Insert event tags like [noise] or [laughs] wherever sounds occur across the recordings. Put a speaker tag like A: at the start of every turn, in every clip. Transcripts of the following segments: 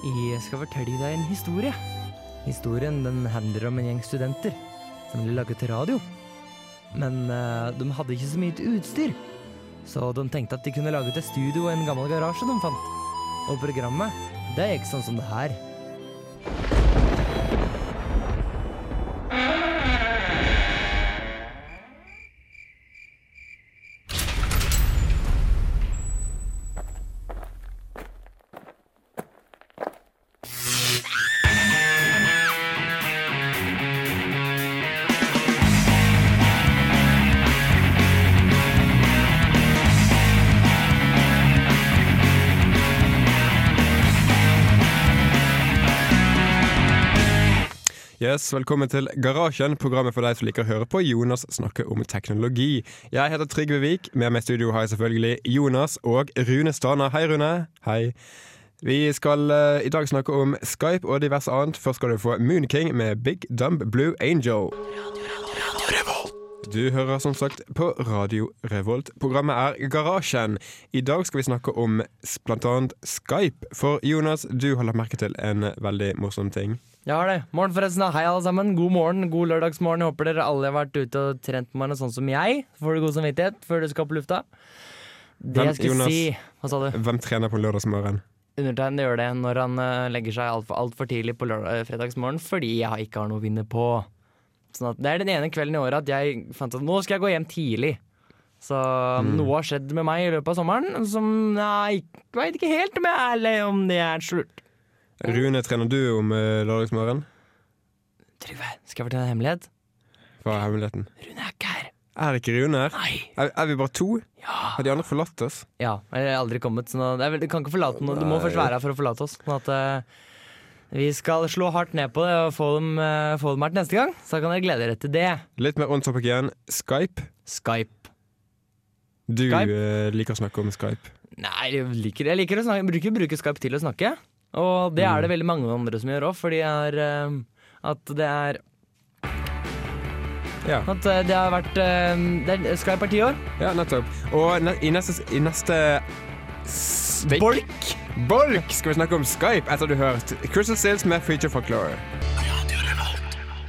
A: Jeg skal fortelle deg en historie. Historien den handler om en gjeng studenter som ville lage til radio. Men eh, de hadde ikke så mye til utstyr, så de tenkte at de kunne lage til studio og en gammel garasje de fant. Og programmet, det gikk sånn som det her.
B: Yes, Velkommen til Garasjen, programmet for deg som liker å høre på Jonas snakke om teknologi. Jeg heter Trygve Vik. Med meg i studio har jeg selvfølgelig Jonas og Rune Stana. Hei, Rune. Hei. Vi skal eh, i dag snakke om Skype og diverse annet. Først skal du få Moon King med Big Dumb Blue Angel. Du hører som sagt på Radio Revolt. Programmet er Garasjen. I dag skal vi snakke om s- blant annet Skype. For Jonas, du har lagt merke til en veldig morsom ting.
A: Jeg har det. Morgen forresten. Hei, alle sammen. God morgen. God lørdagsmorgen. Jeg Håper dere alle har vært ute og trent på meg, sånn som jeg. Så får du god samvittighet før du skal på lufta. Det
B: Men,
A: jeg skulle
B: Jonas-
A: si Hva sa du?
B: Hvem trener på lørdagsmorgen?
A: Undertegnede gjør det når han eh, legger seg altfor alt for tidlig på lørdag, eh, fredagsmorgen fordi jeg ikke har noe å vinne på. Sånn at Det er den ene kvelden i året at jeg fant ut at nå skal jeg gå hjem tidlig. Så um, noe har skjedd med meg i løpet av sommeren som jeg veit ikke helt om, jeg, eller om det er slurt.
B: Rune, trener du om eh, lørdagsmorgen?
A: Trygve, skal jeg fortelle deg en hemmelighet?
B: Hva er hemmeligheten?
A: Rune er ikke her.
B: Er ikke Rune her?
A: Nei.
B: Er, er vi bare to?
A: Ja.
B: Har de andre forlatt oss?
A: Ja, jeg har aldri kommet. Sånn at, jeg vil- kan ikke forlate noe. Du må først være her for å forlate oss. Sånn at eh, vi skal slå hardt ned på det og få dem, eh, få dem her til neste gang. Så kan dere glede dere til det.
B: Litt mer on topic igjen. Skype.
A: Skype.
B: Du
A: Skype?
B: eh, liker å snakke om Skype.
A: Nei, jeg liker, jeg liker å snakke. Jeg bruker, bruker Skype til å snakke. Og det er det veldig mange andre som gjør òg, fordi jeg er, eh, at det er
B: Ja,
A: At eh, det har vært eh, det er, Skype er ti år.
B: ja nettopp. Og ne i neste, s- i neste stikk-
A: Bolk!
B: Bolk skal vi snakke om Skype etter du har hørt Crystal Stills med Future Folklore.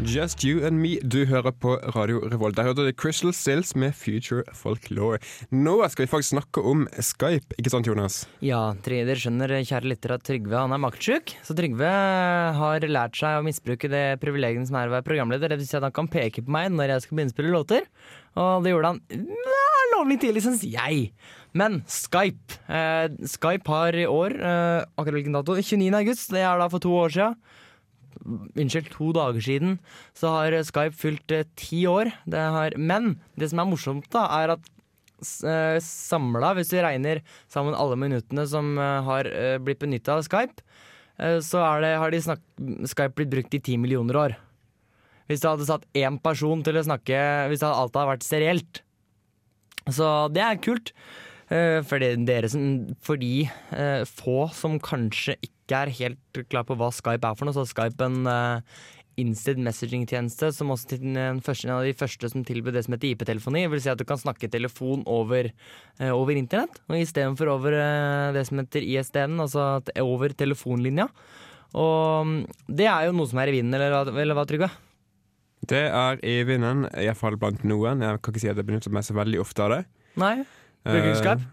B: Just You and Me, du hører på Radio Revolt. Der hørte du Crystal Stills med Future Folklore. Nå skal vi faktisk snakke om Skype, ikke sant, Jonas?
A: Ja, tre- dere skjønner, eh, kjære lytter, at Trygve han er maktsjuk. Så Trygve eh, har lært seg å misbruke det privilegiet som er å være programleder. Det vil si at han kan peke på meg når jeg skal begynne å spille låter. Og det gjorde han ja, lovlig tidlig, syns jeg. Men Skype eh, Skype har i år, eh, akkurat hvilken dato? 29. august. Det er da for to år sia. Unnskyld, to dager siden så har Skype fylt eh, ti år. Det har, men det som er morsomt, da, er at samla, eh, hvis vi regner sammen alle minuttene som eh, har eh, blitt benytta av Skype, eh, så er det, har de snak Skype blitt brukt i ti millioner år. Hvis du hadde satt én person til å snakke, hvis det alt hadde vært serielt. Så det er kult. eh, For det- dere som For de eh, få som kanskje ikke er helt klar på hva Skype er for noe, så er Skype en eh, instant messaging-tjeneste som også til den, den første, en av de første som tilbød det som heter IP-telefoni. Det vil si at du kan snakke i telefon over, eh, over internett, og istedenfor over eh, det som heter ISDN, altså at- over telefonlinja. Og mm, det er jo noe som er i vinden, eller, hva- eller hva, Trygve?
B: Det er i vinden, iallfall blant noen. Jeg kan ikke si at jeg benytter meg så veldig ofte av det.
A: Nei? Bruker du
B: Eh,
A: Skype?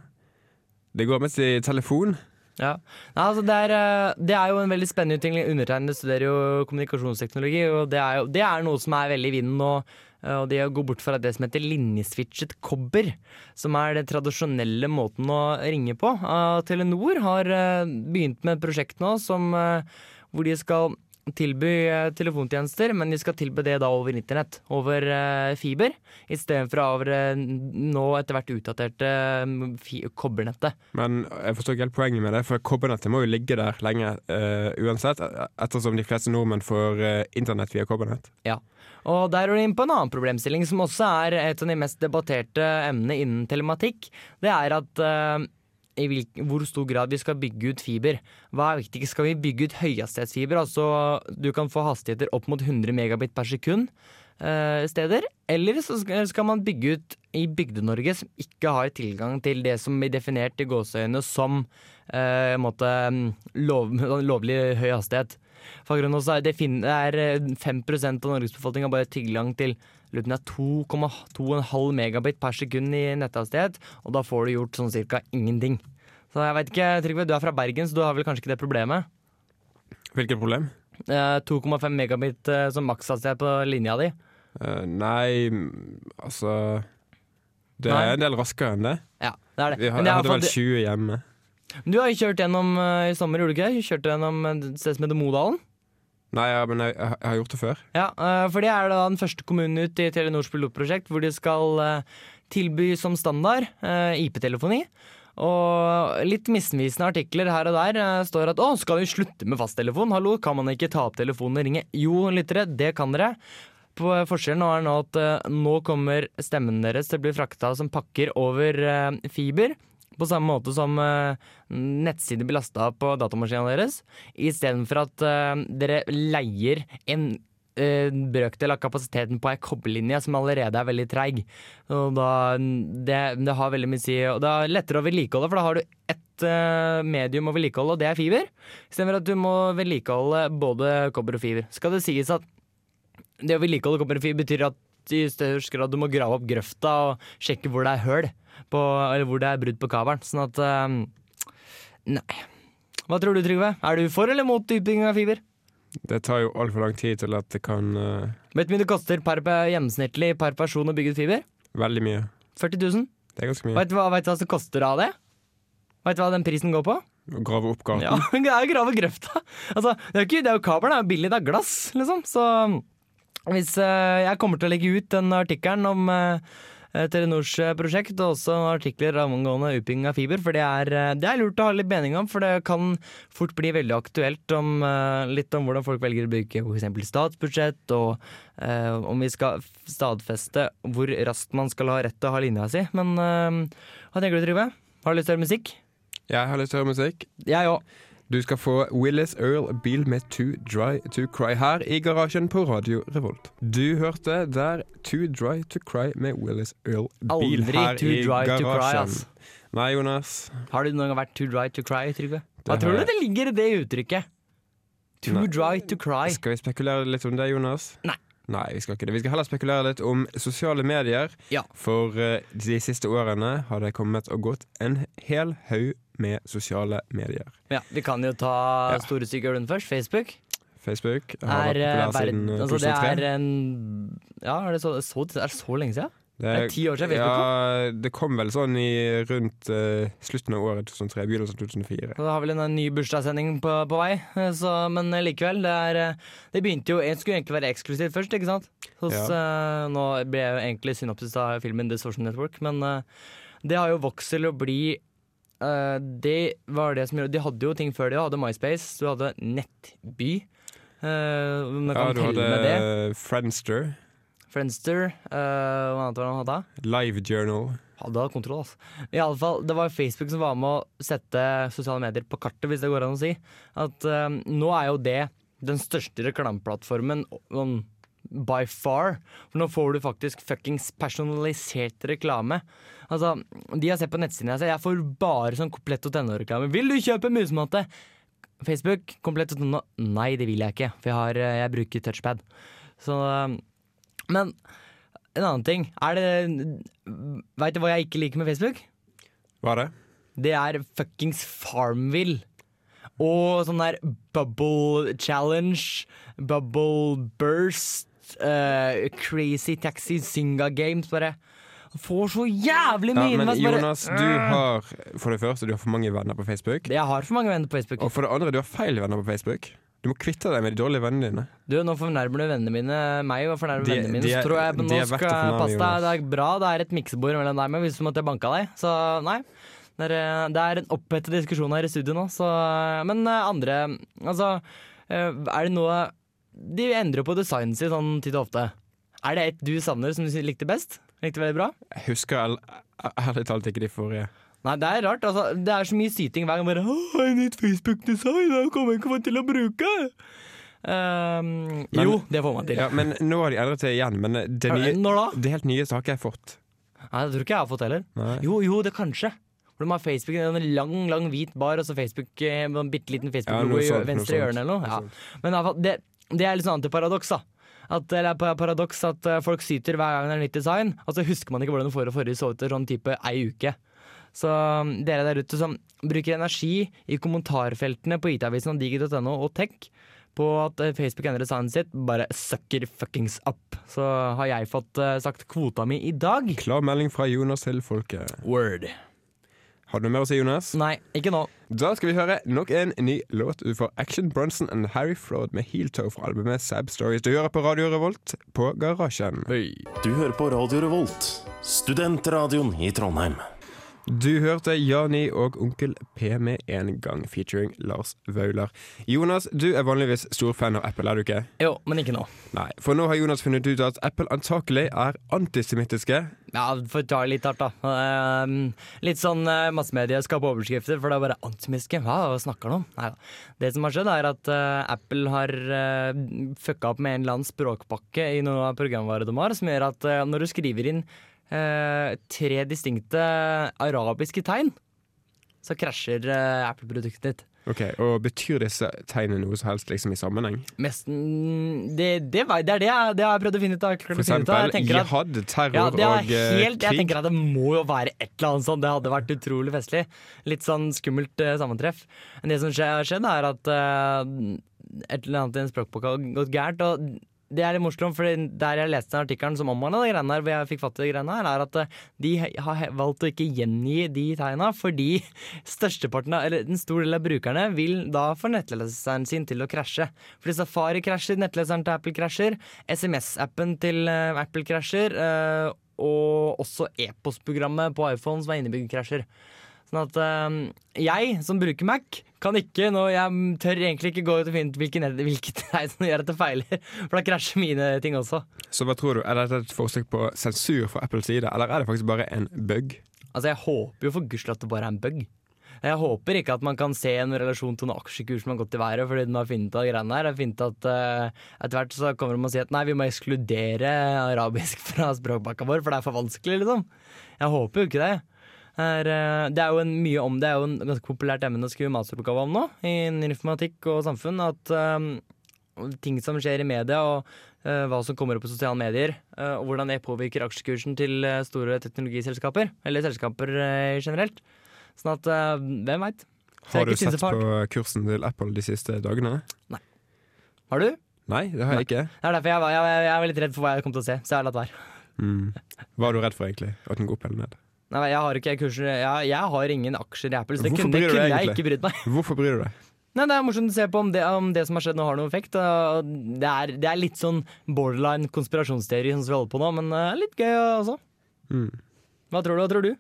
B: Det går mest i telefon.
A: Ja. Nei, altså det, er, eh, det er jo en veldig spennende utvikling. Undertegnede studerer jo kommunikasjonsteknologi, og det er, jo, det er noe som er veldig i vinden nå. eh, Og det å gå bort fra det som heter linjeswitchet kobber, som er den tradisjonelle måten å ringe på. Eh, Telenor har eh, begynt med et prosjekt nå som, eh, hvor de skal tilby eh, telefontjenester, men de skal tilby det da over internett, over eh, fiber, istedenfor over eh, nå etter hvert utdaterte eh, fi kobbernettet.
B: Men jeg forstår ikke helt poenget med det, for kobbernettet må jo ligge der lenge eh, uansett. Ettersom de fleste nordmenn får eh, internett via kobbernett.
A: Ja. Og der er du inne på en annen problemstilling, som også er et av de mest debatterte emnene innen telematikk. Det er at eh, i hvilk, hvor stor grad vi skal bygge ut fiber. Hva er viktig? Skal vi bygge ut høyhastighetsfiber? Altså du kan få hastigheter opp mot 100 megabit per sekund. eh, steder. Eller så skal skal man bygge ut i Bygde-Norge som ikke har tilgang til det som blir definert i gåseøyne som eh, på en måte, mm, lov, [laughs] lovlig høy hastighet. For akkurat nå så er det, fin- det er eh, 5 av Norges befolkning har bare tilgang til lurer på om det er 2,5 megabit per sekund i netthastighet, og da får du gjort sånn cirka ingenting. Så jeg vet ikke, Trygve, du er fra Bergen, så du har vel kanskje ikke det problemet?
B: Hvilket problem?
A: Eh, 2,5 megabit eh, som makshastighet på linja di.
B: Eh, nei, mm, altså Det
A: Nei.
B: er en del raskere enn det.
A: Ja, det er det.
B: Vi
A: Men
B: har, jeg
A: jeg har
B: hadde vel
A: fått-
B: 20 hjemme.
A: du har jo kjørt gjennom eh, i sommer, gjorde du ikke? det? Du Kjørte gjennom eh, et sted som heter Modalen.
B: Nei, ja, men jeg, jeg har- jeg har gjort det før.
A: Ja, eh, for det er da den første kommunen ut i Telenors pilotprosjekt hvor de skal eh, tilby som standard eh, IP-telefoni. Og litt misvisende artikler her og der eh, står at å, skal vi slutte med fasttelefon? Hallo, kan man ikke ta opp telefonen og ringe? Jo, lyttere, det kan dere. På eh, forskjellen nå er nå at eh, nå kommer stemmen deres til å bli frakta som pakker over eh, fiber. På samme måte som eh, nettsider blir lasta på datamaskinene deres. Istedenfor at eh, dere leier en eh, brøkdel av kapasiteten på ei kobberlinje som allerede er veldig treig. Og da, det, det har veldig mye å si. Og det er lettere å vedlikeholde, for da har du ett eh, medium å vedlikeholde, og det er fiber. Istedenfor at du må vedlikeholde både kobber og fiber. Skal det sies at det å vedlikeholde kobber og fiber betyr at i størst grad du må grave opp grøfta og sjekke hvor det er høl, på, eller hvor det er brudd på kabelen. Sånn at eh, Nei. Hva tror du, Trygve? Er du for eller mot utbygging av fiber?
B: Det tar jo altfor lang tid til at det kan eh,
A: Vet du hvor mye det koster per, pe- gjennomsnittlig per person å bygge ut fiber?
B: Veldig mye.
A: 40 000.
B: Det er ganske mye.
A: Vet du hva, vet du hva som koster av det? Vet du hva den prisen går på?
B: Å grave opp gaten.
A: Ja, [laughs] det er jo grave grøfta. Altså, det er jo ikke, det er jo kabelen, det er jo billig, det er glass, liksom. Så hvis eh, jeg kommer til å legge ut den artikkelen om eh, eh, Telenors eh, prosjekt, og også artikler angående utbygging av fiber, for det er, eh, det er lurt å ha litt mening om, for det kan fort bli veldig aktuelt om eh, litt om hvordan folk velger å bruke f.eks. statsbudsjett, og eh, om vi skal f- stadfeste hvor raskt man skal ha rett til å ha linja si. Men eh, hva tenker du, Trygve? Har du lyst til å høre musikk?
B: Jeg har lyst til å høre musikk.
A: Jeg òg.
B: Du skal få Willis Earl Bil med Too Dry To Cry her i garasjen på Radio Revolt. Du hørte der Too Dry To Cry med Willis Earl Bil
A: Aldri
B: her
A: too
B: i
A: dry to
B: garasjen.
A: cry, ass.
B: Nei, Jonas.
A: Har du noen gang vært too dry to cry, Trygve?
B: Det
A: Hva
B: har
A: tror du
B: jeg.
A: det ligger i det uttrykket? Too
B: Nei.
A: dry to cry.
B: Skal vi spekulere litt om det, Jonas?
A: Nei.
B: Nei, Vi skal ikke det. Vi skal heller spekulere litt om sosiale medier.
A: Ja.
B: For eh, de siste årene har det kommet og gått en hel haug med sosiale medier.
A: Ja, vi kan jo ta
B: Ja.
A: store stykker den først. Facebook
B: Facebook har
A: er,
B: vært
A: eh,
B: populær siden
A: verden- altså, det er en
B: eh, 2003.
A: Ja, er det så, så, det er så lenge siden? Det er ti år siden Facebook
B: Ja, det kom vel sånn i rundt eh, slutten av året 2003, begynnelsen av 2004.
A: Så Da har vi en eh, ny bursdagssending på, på vei, eh, så, men eh, likevel. Det, er, eh, det begynte jo, det skulle egentlig være eksklusivt først, ikke sant? Hos, eh, nå ble jeg jo egentlig synopsis av filmen The Social Network, men eh, det har jo vokst til å bli eh, Det var det som gjorde De hadde jo ting før det, du hadde MySpace, du hadde Nettby. eh, om jeg
B: Ja,
A: kan
B: du
A: telle
B: hadde
A: med det.
B: eh, Friendster,
A: Friendster. eh, hva annet var det han hadde?
B: Live Journal.
A: Hadde hatt kontroll, altså. I alle fall, det var Facebook som var med å sette sosiale medier på kartet, hvis det går an å si. At eh, nå er jo det den største reklameplattformen sånn, by far. For nå får du faktisk fuckings personalisert reklame. Altså, de jeg ser på nettsidene jeg ser, jeg får bare sånn komplett og tenåreklame. Vil du kjøpe musematte? Facebook, komplett og tenå... Nei, det vil jeg ikke, for jeg, har, eh, jeg bruker touchpad. Så, eh, men en annen ting. Er det Veit du hva jeg ikke liker med Facebook?
B: Var det?
A: Det er fuckings Farmville. Og sånn der Bubble Challenge, Bubble Burst, eh, Crazy Taxi, Singa Games, bare. Får så jævlig
B: Ja,
A: mye
B: men
A: invest, bare.
B: Jonas, du har for det første du har for mange venner på Facebook.
A: Jeg har for mange venner på Facebook.
B: Og for det andre, du har feil venner på Facebook. Du må kvitte deg med de dårlige vennene dine.
A: Du, Nå fornærmer du vennene mine meg, og fornærmer
B: De-
A: vennene mine.
B: de er-
A: så tror jeg, men
B: de
A: nå
B: er verdt å
A: skal jeg
B: fornærme,
A: passe deg.
B: Jonas.
A: Det er bra det er et miksebord mellom deg og meg, hvis du måtte jeg banka deg. Så nei. Det er, eh, det er en opphetet diskusjon her i studio nå, så eh, Men eh, andre Altså, eh, er det noe De endrer på designet sitt sånn titt og ofte. Er det et du savner som du sy- likte best? Likte veldig bra?
B: Jeg husker ærl- ærlig talt ikke de forrige.
A: Nei, det er rart. Altså, det er så mye syting hver gang. Bare, «Åh, 'Nytt Facebook-design! Det kommer jeg ikke til å bruke!' Ehm,
B: Men-
A: jo, det får man til.
B: Ja, men nå har de endret det igjen. Men det, nye,
A: Når da?
B: det helt nyeste har ikke jeg fått.
A: Nei, Det tror ikke jeg har fått heller.
B: Nei.
A: Jo, jo, det kanskje. For de har Facebook, en lang lang hvit bar og så Facebook, eh, med en bitte liten Facebook-logo
B: noe sånt,
A: i
B: noe
A: venstre
B: sånt,
A: hjørne eller
B: noe
A: noe. Ja. Men i hvert fall, det, det er litt sånn antiparadoks, da. At, eller pa- paradoks at eh, folk syter hver gang det er nytt design, og så husker man ikke hvordan det forrige og forrige så ut til sånn type ei uke. Så um, dere der ute som bruker energi i kommentarfeltene på IT-avisen og digi.no og tech på at eh, Facebook endrer designet sitt, bare sucker fuckings up. Så har jeg fått eh, sagt kvota mi i dag.
B: Klar melding fra Jonas til folket.
A: Word.
B: Har du noe mer å si, Jonas?
A: Nei, ikke nå.
B: Da skal vi høre nok en ny låt ut fra Action Bronson and Harry Flood med Heel Toe fra albumet Sab Stories. Du hører på Radio Revolt på Garasjen.
C: Du hører på Radio Revolt, studentradioen i Trondheim.
B: Du hørte Jani og Onkel P med en gang featuring Lars Vaular. Jonas, du er vanligvis stor fan av Apple, er du ikke?
A: Jo, men ikke nå.
B: Nei, for nå har Jonas funnet ut at Apple antakelig er antisemittiske.
A: Ja, for å ta det litt hardt, da. Ehm, litt sånn uh, massemedia skaper overskrifter, for det er bare antisemittiske. Hva hva snakker han om? Neida. Det som har skjedd, er at eh, Apple har eh, fucka opp med en eller annen språkpakke i noen av programvarene de har, som gjør at eh, når du skriver inn eh, tre distinkte arabiske tegn, så krasjer eh, Apple-produktet ditt.
B: Ok, Og betyr disse tegnene noe som helst liksom i sammenheng?
A: Mesten det, det, vei- det er det jeg, det jeg har prøvd å finne ut av. klart å
B: For
A: finne ut av.
B: eksempel
A: Jeg tenker at-
B: jihad, terror
A: Ja, det er
B: og eh,
A: helt, jeg
B: krig.
A: tenker at det må jo være et eller annet sånt. Det hadde vært utrolig festlig. Litt sånn skummelt eh, sammentreff. Men det som skje- har skjedd, er at eh, et eller annet i en språkbok har gått gærent. Og det er litt morsomt, for der jeg leste den artikkelen som omhandla de greiene her, hvor jeg fikk fatt i de greiene her, er at eh, de he- har he- valgt å ikke gjengi de tegna fordi [laughs] størsteparten av, eller en stor del av brukerne vil da få nettleseren sin til å krasje. Fordi Safari krasjer, nettleseren til Apple krasjer, SMS-appen til eh, Apple krasjer, eh, og også e-postprogrammet på iPhone som er innebygd krasjer. Sånn at eh, jeg som bruker Mac, kan ikke nå Jeg tør egentlig ikke gå ut og finne ut hvilken- [laughs] hvilket tegn som gjør at det feiler, for da krasjer mine ting også.
B: Så hva tror du? Er dette et forsøk på sensur fra Apples side, eller er det faktisk bare en bug?
A: Altså, jeg håper jo for gudskjelov at det bare er en bug. Jeg håper ikke at man kan se en relasjon til noen aksjekurs som har gått i været fordi den har funnet av greiene her. Jeg har funnet at eh, Etter hvert så kommer de og sier at nei, vi må ekskludere arabisk [laughs] fra språkpakka vår, for det er for vanskelig, liksom. Jeg håper jo ikke det. Er, eh, det er jo en mye om Det er jo en ganske populært emne å skrive masteroppgave om nå, i informatikk og samfunn, at eh, ting som skjer i media, og eh, hva som kommer opp på sosiale medier, eh, og hvordan det påvirker aksjekursen til eh, store teknologiselskaper, eller selskaper eh, generelt. Sånn at eh, hvem veit? Så jeg
B: Har du
A: ikke synes
B: sett
A: det er
B: på kursen til Apple de siste dagene?
A: Har du?
B: Nei, det har jeg ikke.
A: Det er derfor jeg, var- jeg, jeg var litt redd for hva jeg kom til å se, så jeg har latt være.
B: Mm. Hva er du redd for, egentlig? At den går opp eller ned?
A: Nei, jeg har ikke kurser jeg, jeg har ingen aksjer i Apple, så det
B: Hvorfor
A: kunne,
B: bryr du deg
A: kunne jeg
B: egentlig?
A: ikke brydd meg.
B: Hvorfor bryr du deg?
A: Nei, Det er morsomt å se på om det, om det som har skjedd nå, har noen effekt. og Det er, det er litt sånn borderline konspirasjonsteori som vi holder på nå, men eh, litt gøy også.
B: Mm.
A: Hva tror du? Hva tror du?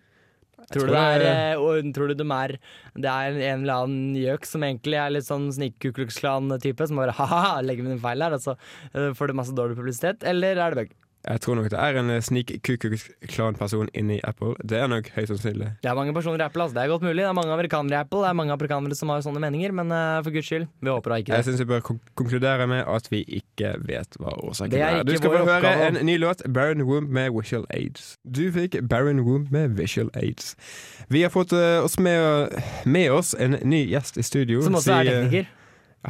A: Tror du, det
B: tror
A: er,
B: det-
A: eh, og, tror du de er, det er en eller annen gjøk som egentlig er litt sånn snikkukluksklan-type, som bare [laughs] ha-ha, legger vi en feil her, og så eh, får det masse dårlig publisitet, eller er det bug?
B: Jeg tror nok det er en eh, snik kukuk-klan-person inni Apple. Det er nok høyst sannsynlig.
A: Det er mange personer i Apple, altså. det er godt mulig. Det er mange amerikanere i Apple, det er mange afrikanere som har sånne meninger, men eh, for guds skyld, vi håper da ikke
B: Jeg
A: det.
B: syns vi bør kon- konkludere med at vi ikke vet hva årsaken
A: Det er
B: er. Du
A: ikke
B: skal
A: vår
B: få høre
A: oppgave.
B: en ny låt, 'Baron Womb' med 'Visual Aids'. Du fikk 'Baron Womb' med 'Visual Aids'. Vi har fått eh, oss med, med oss en ny gjest i studio.
A: Som også
B: Si,
A: er
B: eh,
A: tekniker.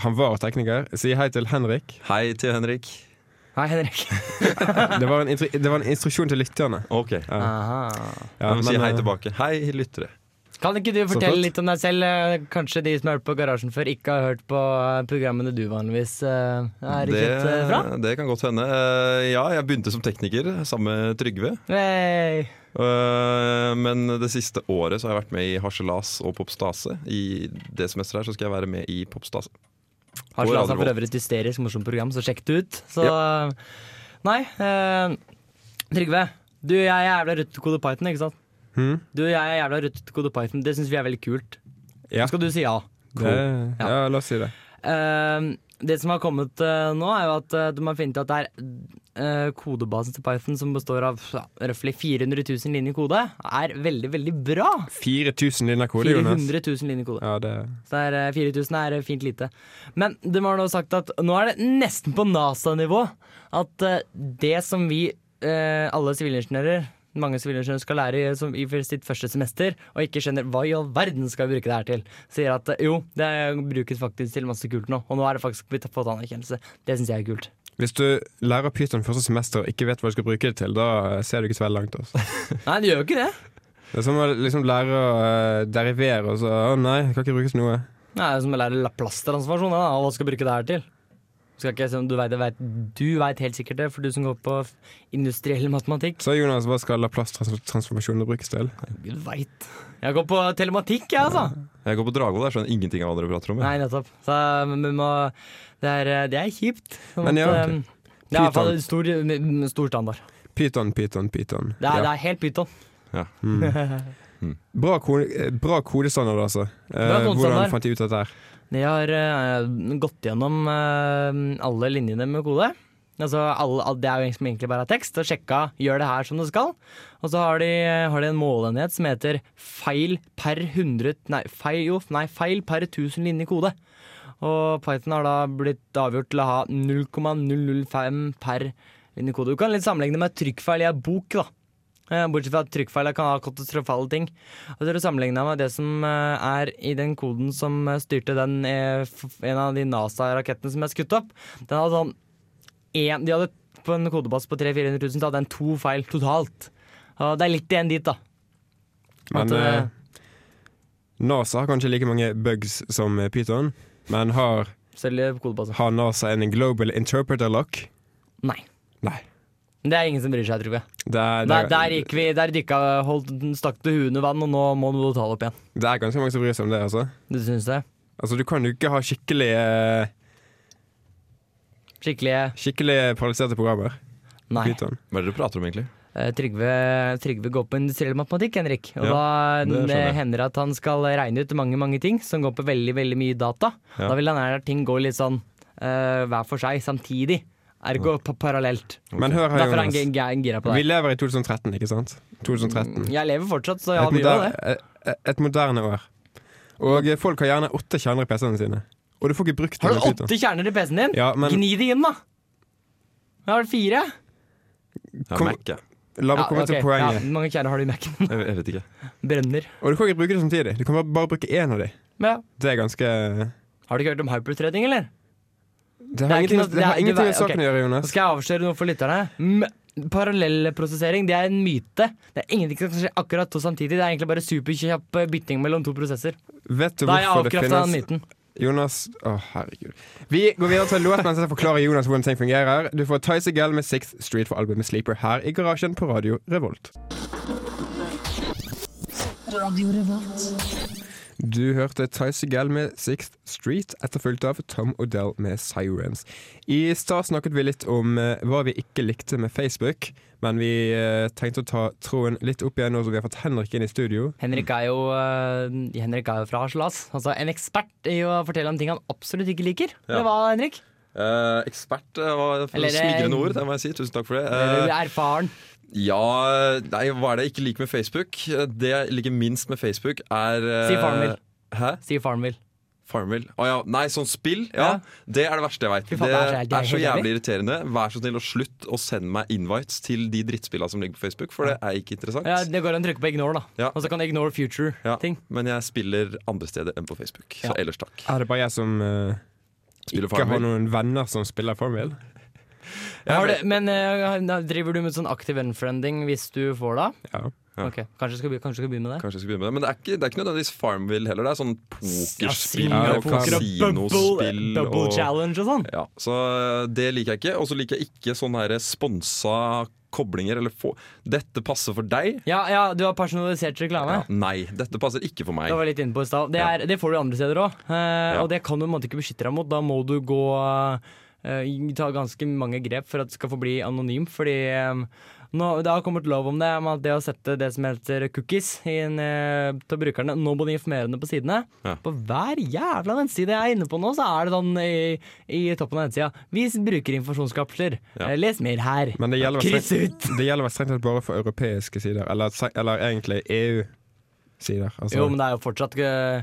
B: Han var tekniker. Si hei til Henrik.
D: Hei til Henrik.
A: Hei, Henrik.
B: Det var en, intri- det var en instruksjon til lytterne.
D: Ok,
B: Ja.
A: Aha.
B: Ja,
D: jeg må si
B: men,
D: hei
B: eh,
D: tilbake. Hei, lyttere.
A: Kan ikke du
B: Så flott.
A: fortelle litt om deg selv? eh, Kanskje de som har hørt på Garasjen før, ikke har hørt på eh, programmene du vanligvis eh, er kjent eh, fra?
D: det kan godt hende. Eh, Ja, jeg begynte som tekniker sammen med Trygve.
A: Hey.
D: Eh, Men det siste året så har jeg vært med i Harselas og Popstase. I det semesteret her så skal jeg være med i Popstase.
A: Har
D: Går
A: Slas
D: aldri
A: for
D: opp.
A: øvrig et hysterisk morsomt program, så sjekk det ut. Så Nei. Eh, Trygve, du jeg er jævla ruttekode Python, ikke sant?
B: Hmm?
A: Du jeg er jævla ruttekode Python, det syns vi er veldig kult.
B: Ja.
A: Skal du si ja?
B: Det, ja, la oss si det.
A: Eh, det som har kommet eh, nå, er jo at eh, de har funnet at det er eh, kodebasen til Python, som består av ja, røftlig 400 000 linjer kode, er veldig, veldig bra.
B: 4000 linjer kode, Jonas.
A: 400 000 linjer kode.
B: Ja, det
A: Så det er, eh, 4000 er eh, fint lite. Men de har nå sagt at nå er det nesten på NASA-nivå at eh, det som vi, eh, alle sivilingeniører, mange sivilingeniører skal lære i- som, i for sitt første semester, og ikke skjønner hva i all verden skal vi bruke det her til, sier at eh, jo, det brukes faktisk til masse kult nå, og nå er det faktisk blitt fått anerkjennelse. Det syns jeg er kult.
B: Hvis du lærer Python første semester og ikke vet hva du skal bruke det til, da eh, ser du ikke så veldig langt. Altså.
A: Nei, det gjør jo ikke det.
B: Det er som å liksom lære å eh, derivere, og så Å nei, det kan ikke brukes til noe.
A: Nei, det er som å lære Laplace-transformasjon, da, og hva skal du bruke det her til? Skal ikke, jeg si om du vet, det, vet, du vet helt sikkert det, for du som går på f- industriell matematikk.
B: Så Jonas, hva skal Laplace-transformasjonene brukes til?
A: Gud veit. Jeg går på telematikk, jeg, altså.
D: Jeg går på Dragvoll, jeg skjønner ingenting av hva dere prater om.
A: Nei,
D: jeg.
A: nettopp. Så men vi må Det er, det er kjipt. sånn
B: Men ja,
A: at,
B: ok.
A: um, Det er i hvert fall
B: Python.
A: stor, m- stor standard.
B: Python, Python, Python.
A: Det er, det er helt pyton.
B: Bra, ko eh, bra kodestandard, altså. Eh,
A: kodestandard.
B: hvordan fant de ut dette her?
A: De har eh, gått gjennom eh, alle linjene med kode. Altså, alle, al- det er jo egentlig- som egentlig bare er tekst. Og sjekka gjør det her som det skal. Og så har de, eh, har de en målenhet som heter feil per 100 Nei, feil, jo, nei, feil per 1000 linjer kode. Og Python har da blitt avgjort til å ha 0,005 per linje kode. Du kan litt sammenligne det med trykkfeil i ei bok, da. Eh, Bortsett fra at trykkfeiler kan ha katastrofale ting. Og dere sammenligna med det som eh, er i den koden som eh, styrte den eh, f- en av de NASA-rakettene som er skutt opp. Den hadde sånn en, De hadde på en kodebase på 300 000-400 000, så hadde den to feil totalt. Og det er litt igjen dit, da.
B: Men
A: At, eh,
B: eh, NASA har kanskje like mange bugs som eh, Python, men har,
A: Selv i kodebasen.
B: har NASA en global interpreter lock?
A: Nei.
B: Nei.
A: Det er ingen som bryr seg, tror jeg.
B: Det er, det,
A: Der,
B: er,
A: der gikk vi, der dykka holdt, stakk du huet under vann, og nå må du ta det opp igjen.
B: det er ganske mange som bryr seg om det, altså.
A: Du syns det?
B: Altså, Du kan jo ikke ha skikkelig, eh,
A: Skikkelig eh,
B: skikkelig paralyserte programmer.
A: nei.
B: Python.
D: Hva er det dere prater om, egentlig?
A: Eh, Trygve, Trygve går på industriell matematikk, Henrik. Og
D: Ja, det
A: da
D: skjønner
A: det
D: jeg.
A: hender det at han skal regne ut mange mange ting som går på veldig veldig mye data.
D: Ja.
A: Da vil han gjerne at ting går litt sånn eh, hver for seg, samtidig. Ergo pa- parallelt.
B: Men hør her,
A: Derfor er han
B: Jonas.
A: gi- gi- gira på
B: Vi
A: det.
B: lever i 2013, ikke sant? 2013.
A: Jeg lever fortsatt, så Mm, ja,
B: Et,
A: vi gjør
B: moder
A: det.
B: et- et moderne år. Og eh, folk har gjerne åtte kjerner i PC-ene sine. Og du får ikke brukt
A: Har
B: dem
A: du
B: med Python.
A: åtte kjerner i PC-en din?
B: Ja, men-
A: Gni det inn, da! Jeg har fire.
D: Ja,
B: Kom-
D: Mac, jeg.
B: La meg komme
A: ok.
B: til poenget.
A: Ja, hvor mange kjerner har du i Mac-en? [laughs]
D: Jeg, jeg vet ikke.
A: Brenner.
B: Og du kan ikke bruke det samtidig. Du kan bare, bare bruke én av de.
A: Men, ja.
B: Det er ganske
A: Har du ikke hørt om hyperthreading, eller?
B: Det har
A: ikke
B: ingenting,
A: noe-
B: det
A: det
B: har
A: er- du
B: ingenting med
A: vet- ok.
B: saken å gjøre,
A: Nå
B: Jonas.
A: skal jeg avsløre noe for lytterne. M Parallellprosessering det er en myte. Det er ingenting som skjer akkurat to samtidig. Det er egentlig bare superkjapp eh, bytting mellom to prosesser.
B: Vet du
A: Da har jeg
B: hvorfor det
A: avkrafta den
B: finnes
A: myten.
B: Jonas Å, herregud. Vi går videre til en låt mens jeg forklarer Jonas hvordan ting fungerer. Du får Tyse Gell med Sixth Street for albumet Sleeper her i garasjen på Radio Revolt. Du hørte Tyse Gell med Sixth Street, etterfulgt av Tom Odell med Sirens. I stad snakket vi litt om eh, hva vi ikke likte med Facebook, men vi eh, tenkte å ta tråden litt opp igjen nå som vi har fått Henrik inn i studio.
A: Henrik er jo, eh, Henrik er jo fra Harselas. Altså en ekspert i å fortelle om ting han absolutt ikke liker.
D: Ja.
A: Eller hva, Henrik?
D: Eh, ekspert eh, var for
A: Eller, eh,
D: smigrende ord, det må jeg si. Tusen takk for det.
A: Eller
D: Eh,
A: du er erfaren.
D: ja, nei, hva er det jeg ikke liker med Facebook? Det jeg liker minst med Facebook, er eh,
A: Si Farmville.
D: Hæ?
A: Sier faren min.
D: Farmville. Å ja. Nei, sånn spill. Ja,
A: Ja.
D: Det er det verste jeg veit.
A: Fy
D: Det,
A: faen, det er så- det er
D: er så
A: helt
D: jævlig
A: jævlig.
D: irriterende. Vær så snill og slutt å sende meg invites til de drittspillene som ligger på Facebook, for det er ikke interessant.
A: Ja, det går an å trykke på ignore, da.
D: Ja.
A: Og så kan du ignore
D: Ja,
A: future-ting.
D: Men jeg spiller andre steder enn på Facebook, så
A: Ja.
D: ellers takk.
B: Er det bare jeg som eh,
D: Spiller
B: ikke har
D: Farmville.
B: noen venner som spiller Farmville?
A: Har du- Men eh, driver du med sånn aktiv unfriending hvis du får det?
B: Ja.
D: Ja.
A: Ok, Kanskje du skal, be- kanskje du skal begynne med det?
D: Kanskje jeg skal begynne med det. Men det er ikke, det er ikke nødvendigvis Farmville heller. Det er sånn pokerspill
B: Ja,
D: og
B: poker og
D: kasinospill.
A: double
D: og-
A: challenge og sånn.
D: Ja, så eh, det liker jeg ikke. Og så liker jeg ikke sånne her sponsa koblinger eller få Dette passer for deg.
A: Ja, ja, du har personalisert reklame.
D: Ja, nei, dette passer ikke for meg.
A: Det var litt inne på i stad. Det, er- det får du andre steder òg, eh, og det kan du på en måte ikke beskytte deg mot. Da må du gå eh, ta ganske mange grep for at du skal forbli anonym, fordi eh, Nå, det har kommet lov om det, om at det å sette det som heter cookies inn, eh, til brukerne, nå på de informerende på sidene.
D: Ja.
A: På hver jævla nettside jeg er inne på nå, så er det sånn i, i toppen av nettsida. Vi bruker informasjonskapsler.
D: Ja.
A: Eh, Les mer her.
B: Men det gjelder vel
A: Kryss
B: strengt-
A: ut!
B: det gjelder vel strengt tatt bare for europeiske sider, eller, se- eller egentlig EU-sider. Altså,
A: Jo, men det er jo fortsatt eh,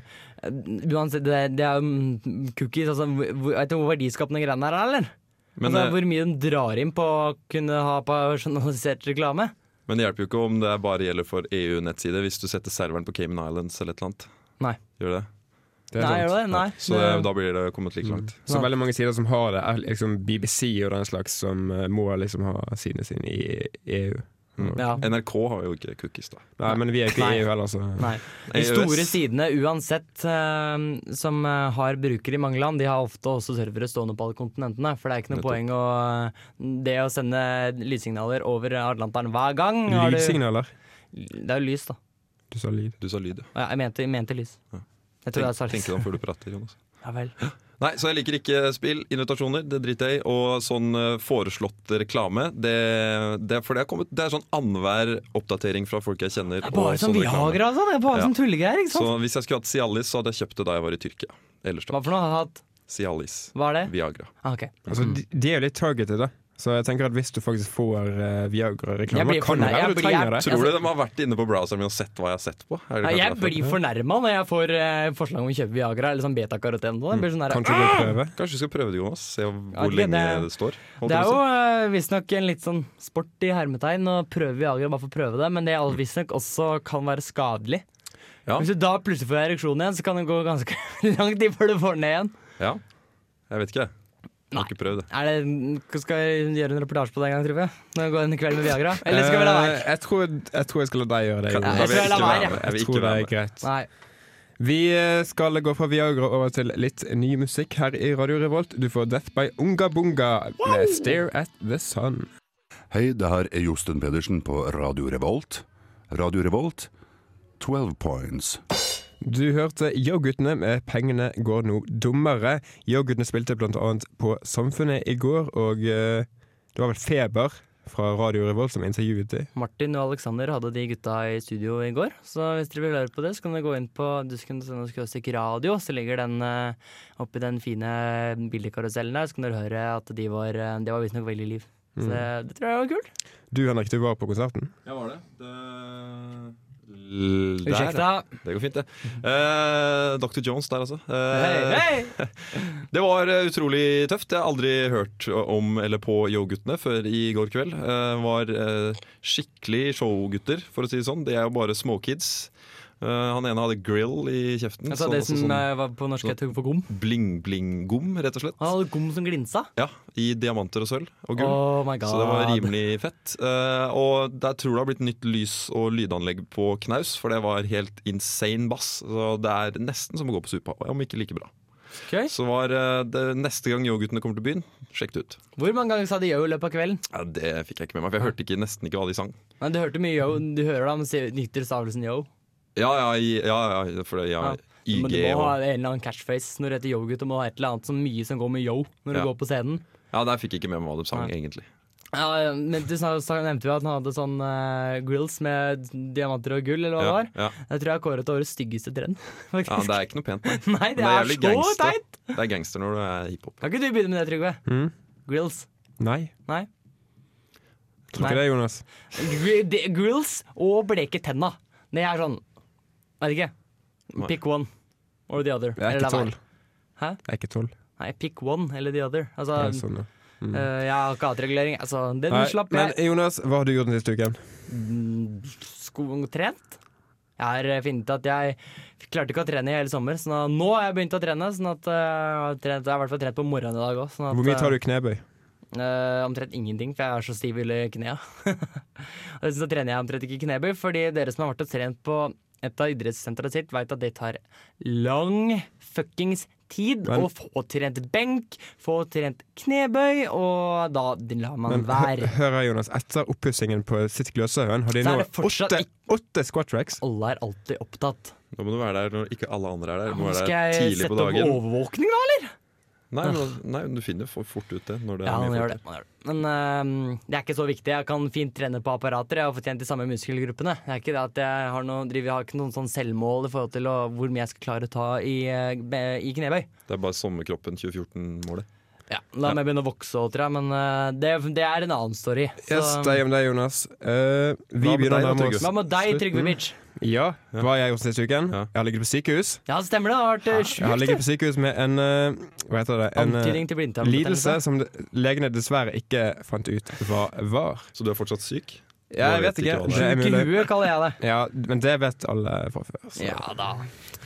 A: Uansett, det, det er jo mm, cookies. Altså, hvor- hvor- vet du hvor verdiskapende greiene her er, eller?
D: Men,
A: altså,
D: eh,
A: hvor mye den drar inn på å kunne ha personalisert reklame.
D: men det hjelper jo ikke om det bare gjelder for EU-nettsider, hvis du setter serveren på Cayman Islands eller et eller annet.
A: Nei.
D: Gjør det?
B: det er
A: Nei,
B: sant.
A: gjør det? Mm. Nei.
D: Så det, da blir det kommet like langt.
B: Så veldig mange sider som har det, er liksom BBC og den slags, som eh, må liksom ha sidene sine i EU.
A: Ja.
D: NRK har jo ikke cookies, da.
B: Nei, men vi er ikke
A: Nei.
B: i EU heller, så
A: Nei. De
D: EØS.
A: store sidene uansett eh, som eh, har brukere i mange land, de har ofte også servere stående på alle kontinentene. For det er ikke noe
D: Nettopp.
A: poeng å eh, Det å sende lydsignaler over Atlanteren hver gang har du-
B: Lydsignaler.
A: Det er jo lys, da.
B: Du sa lyd.
D: Du sa lyd, ja.
A: Ja, Jeg mente, jeg mente lys.
D: Ja.
A: Jeg tror
D: Tenk,
A: det er
D: tenk deg
A: salgs.
D: om før du prater, Jonas.
A: Ja vel.
D: Nei, så jeg liker ikke spill. Invitasjoner, det driter jeg i. Og sånn eh, foreslått reklame, det, det, for det, har kommet, det er sånn annenhver oppdatering fra folk jeg kjenner.
A: Det er
D: og
A: bare sånn
D: reklame.
A: Viagra, altså. Det er bare
D: Ja.
A: sånn tullegreier, ikke
D: Så
A: sant.
D: hvis jeg skulle hatt Cialis, så hadde jeg kjøpt det da jeg var i Tyrkia. Ellers da.
A: Hva for noe? har jeg hatt?
D: Cialis.
A: Hva er det?
D: Viagra.
A: Ah, ok.
B: Altså, de, de er jo litt targeted, da. Så jeg tenker at hvis du faktisk får eh,
A: Jeg
B: Viagra-reklame,
A: blir
B: kan det
A: fornøyd. Jeg
B: være du
A: blir-
B: trenger det.
A: jeg-
D: Tror du de har vært inne på browseren min og sett hva jeg har sett på? Er det
A: Altså- Nei,
D: kanskje
A: Jeg
D: derfor?
A: blir fornærma når jeg får eh, forslag om å kjøpe Viagra eller sånn betakaroten. Det blir sånn der,
B: Kanskje du vil prøve?
D: Mm. Kanskje vi skal prøve det, Jonas. Se hvor
A: Ja, det-
D: lenge
A: det-
D: det står.
A: Det
D: holdt jeg
A: er
D: på å
A: jo
D: si.
A: eh, visstnok en litt sånn sport i hermetegn å prøve Viagra bare for å prøve det, men det er all- visstnok også kan være skadelig.
D: Ja.
A: Hvis du da plutselig får ereksjon igjen, så kan det gå ganske [laughs] lang tid før du får den ned igjen.
D: Ja. Jeg vet ikke. Jeg har
A: Nei.
D: ikke prøvd det.
A: Er det, skal jeg gjøre en reportasje på det en gang, Trygve? Når jeg går en kveld med Viagra? Eller skal vi la være?
B: Eh, jeg, tror, jeg tror jeg skal la deg gjøre det.
D: Kan-
B: Jonas.
A: jeg tror jeg lar være.
D: Jeg vil
B: Jeg
D: ikke
B: tror det
D: være
B: er greit.
A: Nei.
B: Vi eh, skal gå fra Viagra over til litt ny musikk her i Radio Revolt. Du får Death by Unga Bunga med Stare at the Sun.
E: Hei, det her er Josten Pedersen på Radio Revolt. Radio Revolt, 12 points.
B: Du hørte Yo-guttene med 'Pengene går nå dummere'. Yo-guttene spilte blant annet på Samfunnet i går, og eh, det var vel Feber fra Radio Revolt som intervjuet dem.
A: Martin og Alexander hadde de gutta i studio i går, så hvis dere vil høre på det, så kan dere gå inn på dusken.no radio, så ligger den eh, oppi den fine bildekarusellen der, så kan dere høre at de var, eh, det var visstnok veldig liv. Så det,
D: Mm.
A: det tror jeg var kult.
B: Du Henrik, du var på konserten.
D: Ja, var det? Der.
A: Unnskyld.
D: Det går fint, det. Eh, Dr. Jones der, altså.
A: Hei,
D: Eh,
A: hei!
D: Det var eh, utrolig tøft. Jeg har aldri hørt om eller på Yo-guttene før i går kveld. Eh, var eh, skikkelig showgutter, for å si det sånn. De er jo bare småkids. Eh, han ene hadde grill i kjeften.
A: Jeg sa
D: sånn-
A: det
D: altså
A: som
D: sånn
A: eh, var på norsk
D: sånn-
A: het for gom.
D: bling-bling-gom, rett og slett.
A: Han hadde gom som glinsa.
D: Ja, I diamanter og sølv og gull.
A: Oh my god.
D: Så det var rimelig fett. Eh, og jeg tror det har blitt nytt lys- og lydanlegg på knaus, for det var helt insane bass. Så det er nesten som å gå på supa, om ikke like bra.
A: Ok.
D: Så var eh, det neste gang Yo-guttene kommer til byen, sjekk det ut.
A: Hvor mange ganger sa de yo i løpet av kvelden?
D: Ja, det fikk jeg ikke med meg, for jeg hørte ikke, nesten ikke hva de sang.
A: Nei, du hørte mye yo. Du hører da, men sier- nytter stavelsen yo.
D: Ja, ja, i- ja, ja for det, ja,
A: Ja. Men du
D: IG
A: må ha en
D: og
A: eller annen catchphrase når du heter yo-gutt. Du må ha et eller annet så mye som går med yo når du
D: Ja.
A: går på scenen.
D: Ja, der fikk jeg ikke med meg hva de sang,
A: Nei.
D: egentlig.
A: Ja, men Du sa, sa, nevnte jo at han hadde sånn eh, grills med diamanter og gull, eller hva
D: Ja,
A: det var.
D: ja.
A: Jeg tror jeg har kåret til årets styggeste trend. [laughs] faktisk.
D: ja, Det er ikke noe pent. Nei,
A: Nei, det,
D: Men
A: er,
D: jævlig
A: så teit!
D: Det er gangster når du er hiphop.
A: Kan ikke du begynne med det, Trygve?
D: Mm.
B: Mhm.
A: Grills.
B: Nei.
A: Nei.
B: Tror
A: Nei.
B: ikke det, Jonas.
A: Gri- de- Grills og bleke tenna. Det er sånn Vet ikke.
D: Nei.
A: Pick one or the other.
B: Jeg er
A: Eller
B: ikke
A: la være.
B: tolv.
A: Hæ?
B: Jeg er ikke tolv.
A: Nei, pick one eller the other. Altså,
B: Jeg er Sånn, ja.
A: øh, jeg har ikke hatregulering. Altså, den
B: Nei,
A: slapp
B: men
A: jeg.
B: Jonas, hva har du gjort den siste uken?
A: Skotrent. Jeg har øh, funnet ut at jeg f- klarte ikke å trene i hele sommer, så nå, nå har jeg begynt å trene. Sånn at øh, jeg har trent, jeg har i hvert fall trent på morgenen i dag òg. Sånn at,
B: Hvor mye tar
A: øh,
B: du i knebøy?
A: Eh, omtrent ingenting, for jeg er så stiv i knea. [laughs] Og Dessuten så trener jeg omtrent ikke knebøy, fordi dere som har vært og trent på et av idrettssentrene sitt, veit at det tar lang fuckings tid å
B: Men-
A: få trent benk, få trent knebøy, og da lar man
B: Men hø-
A: være.
B: hør her, Jonas. Etter oppussingen på sitt Gløshaugen har de
A: Så
B: nå
A: er det fortsatt
B: åtte, åtte squat tracks.
A: Alle er alltid opptatt.
D: Da må du være der når ikke alle andre er der. Du må
A: Skal
D: være der
A: jeg
D: tidlig
A: sette
D: på
A: opp
D: dagen.
A: overvåkning, da, eller?
D: Nei, men, nei, du finner for fort ut det når det
A: Ja,
D: er
A: man
D: mye
A: gjør det.
D: folk.
A: Man gjør det. Men eh, det er ikke så viktig. Jeg kan fint trene på apparater. Jeg har fortjent de samme muskelgruppene. Det er ikke det at jeg har, noe, driver, jeg har ikke noen sånn selvmål i forhold til å, hvor mye jeg skal klare å ta i, eh, be- i knebøy.
D: Det er bare sommerkroppen 2014-målet.
A: Ja, da må jeg begynne å vokse òg, tror jeg. Men eh, det, det er en annen story. Så-
B: Yes, det er om deg, Jonas. Eh, vi
D: Hva med
B: begynner
D: deg da,
B: å nærme oss
D: Trygve?
A: Hva med deg, Trygve Bitch?
B: Ja, hva har jeg gjort siste uken?
D: Ja.
B: Jeg har ligget på sykehus.
A: Ja, det stemmer det. Det har vært eh,
B: Jeg har
A: sjukt.
B: ligget på sykehus med en eh, Hva heter det? En eh,
A: Antydning til blindtarmbetennelse.
B: lidelse som de- legene dessverre ikke fant ut hva var.
D: Så du er fortsatt syk?
B: Jeg vet ikke.
D: hva det
B: Det
D: er.
B: er
A: Sjuk i
B: mulig.
A: huet, kaller jeg det.
B: Ja, men det vet alle fra før. så
A: Ja da.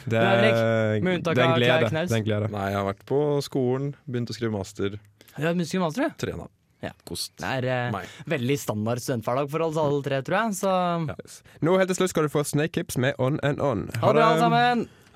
B: Det, er,
A: Henrik, med unntak
B: det er en
A: av Clara
B: glede.
A: Knaus.
B: Det er en glede.
D: Nei, jeg har vært på skolen, begynt å skrive master,
A: Du har muskelmaster, du.
D: trena.
A: Ja.
D: Kost
A: Det er eh,
D: meg.
A: veldig standard studenthverdag for oss alle tre, tror jeg. Så
B: Nå helt til slutt skal du få Snake Hips med On and On.
A: ha det, alle sammen.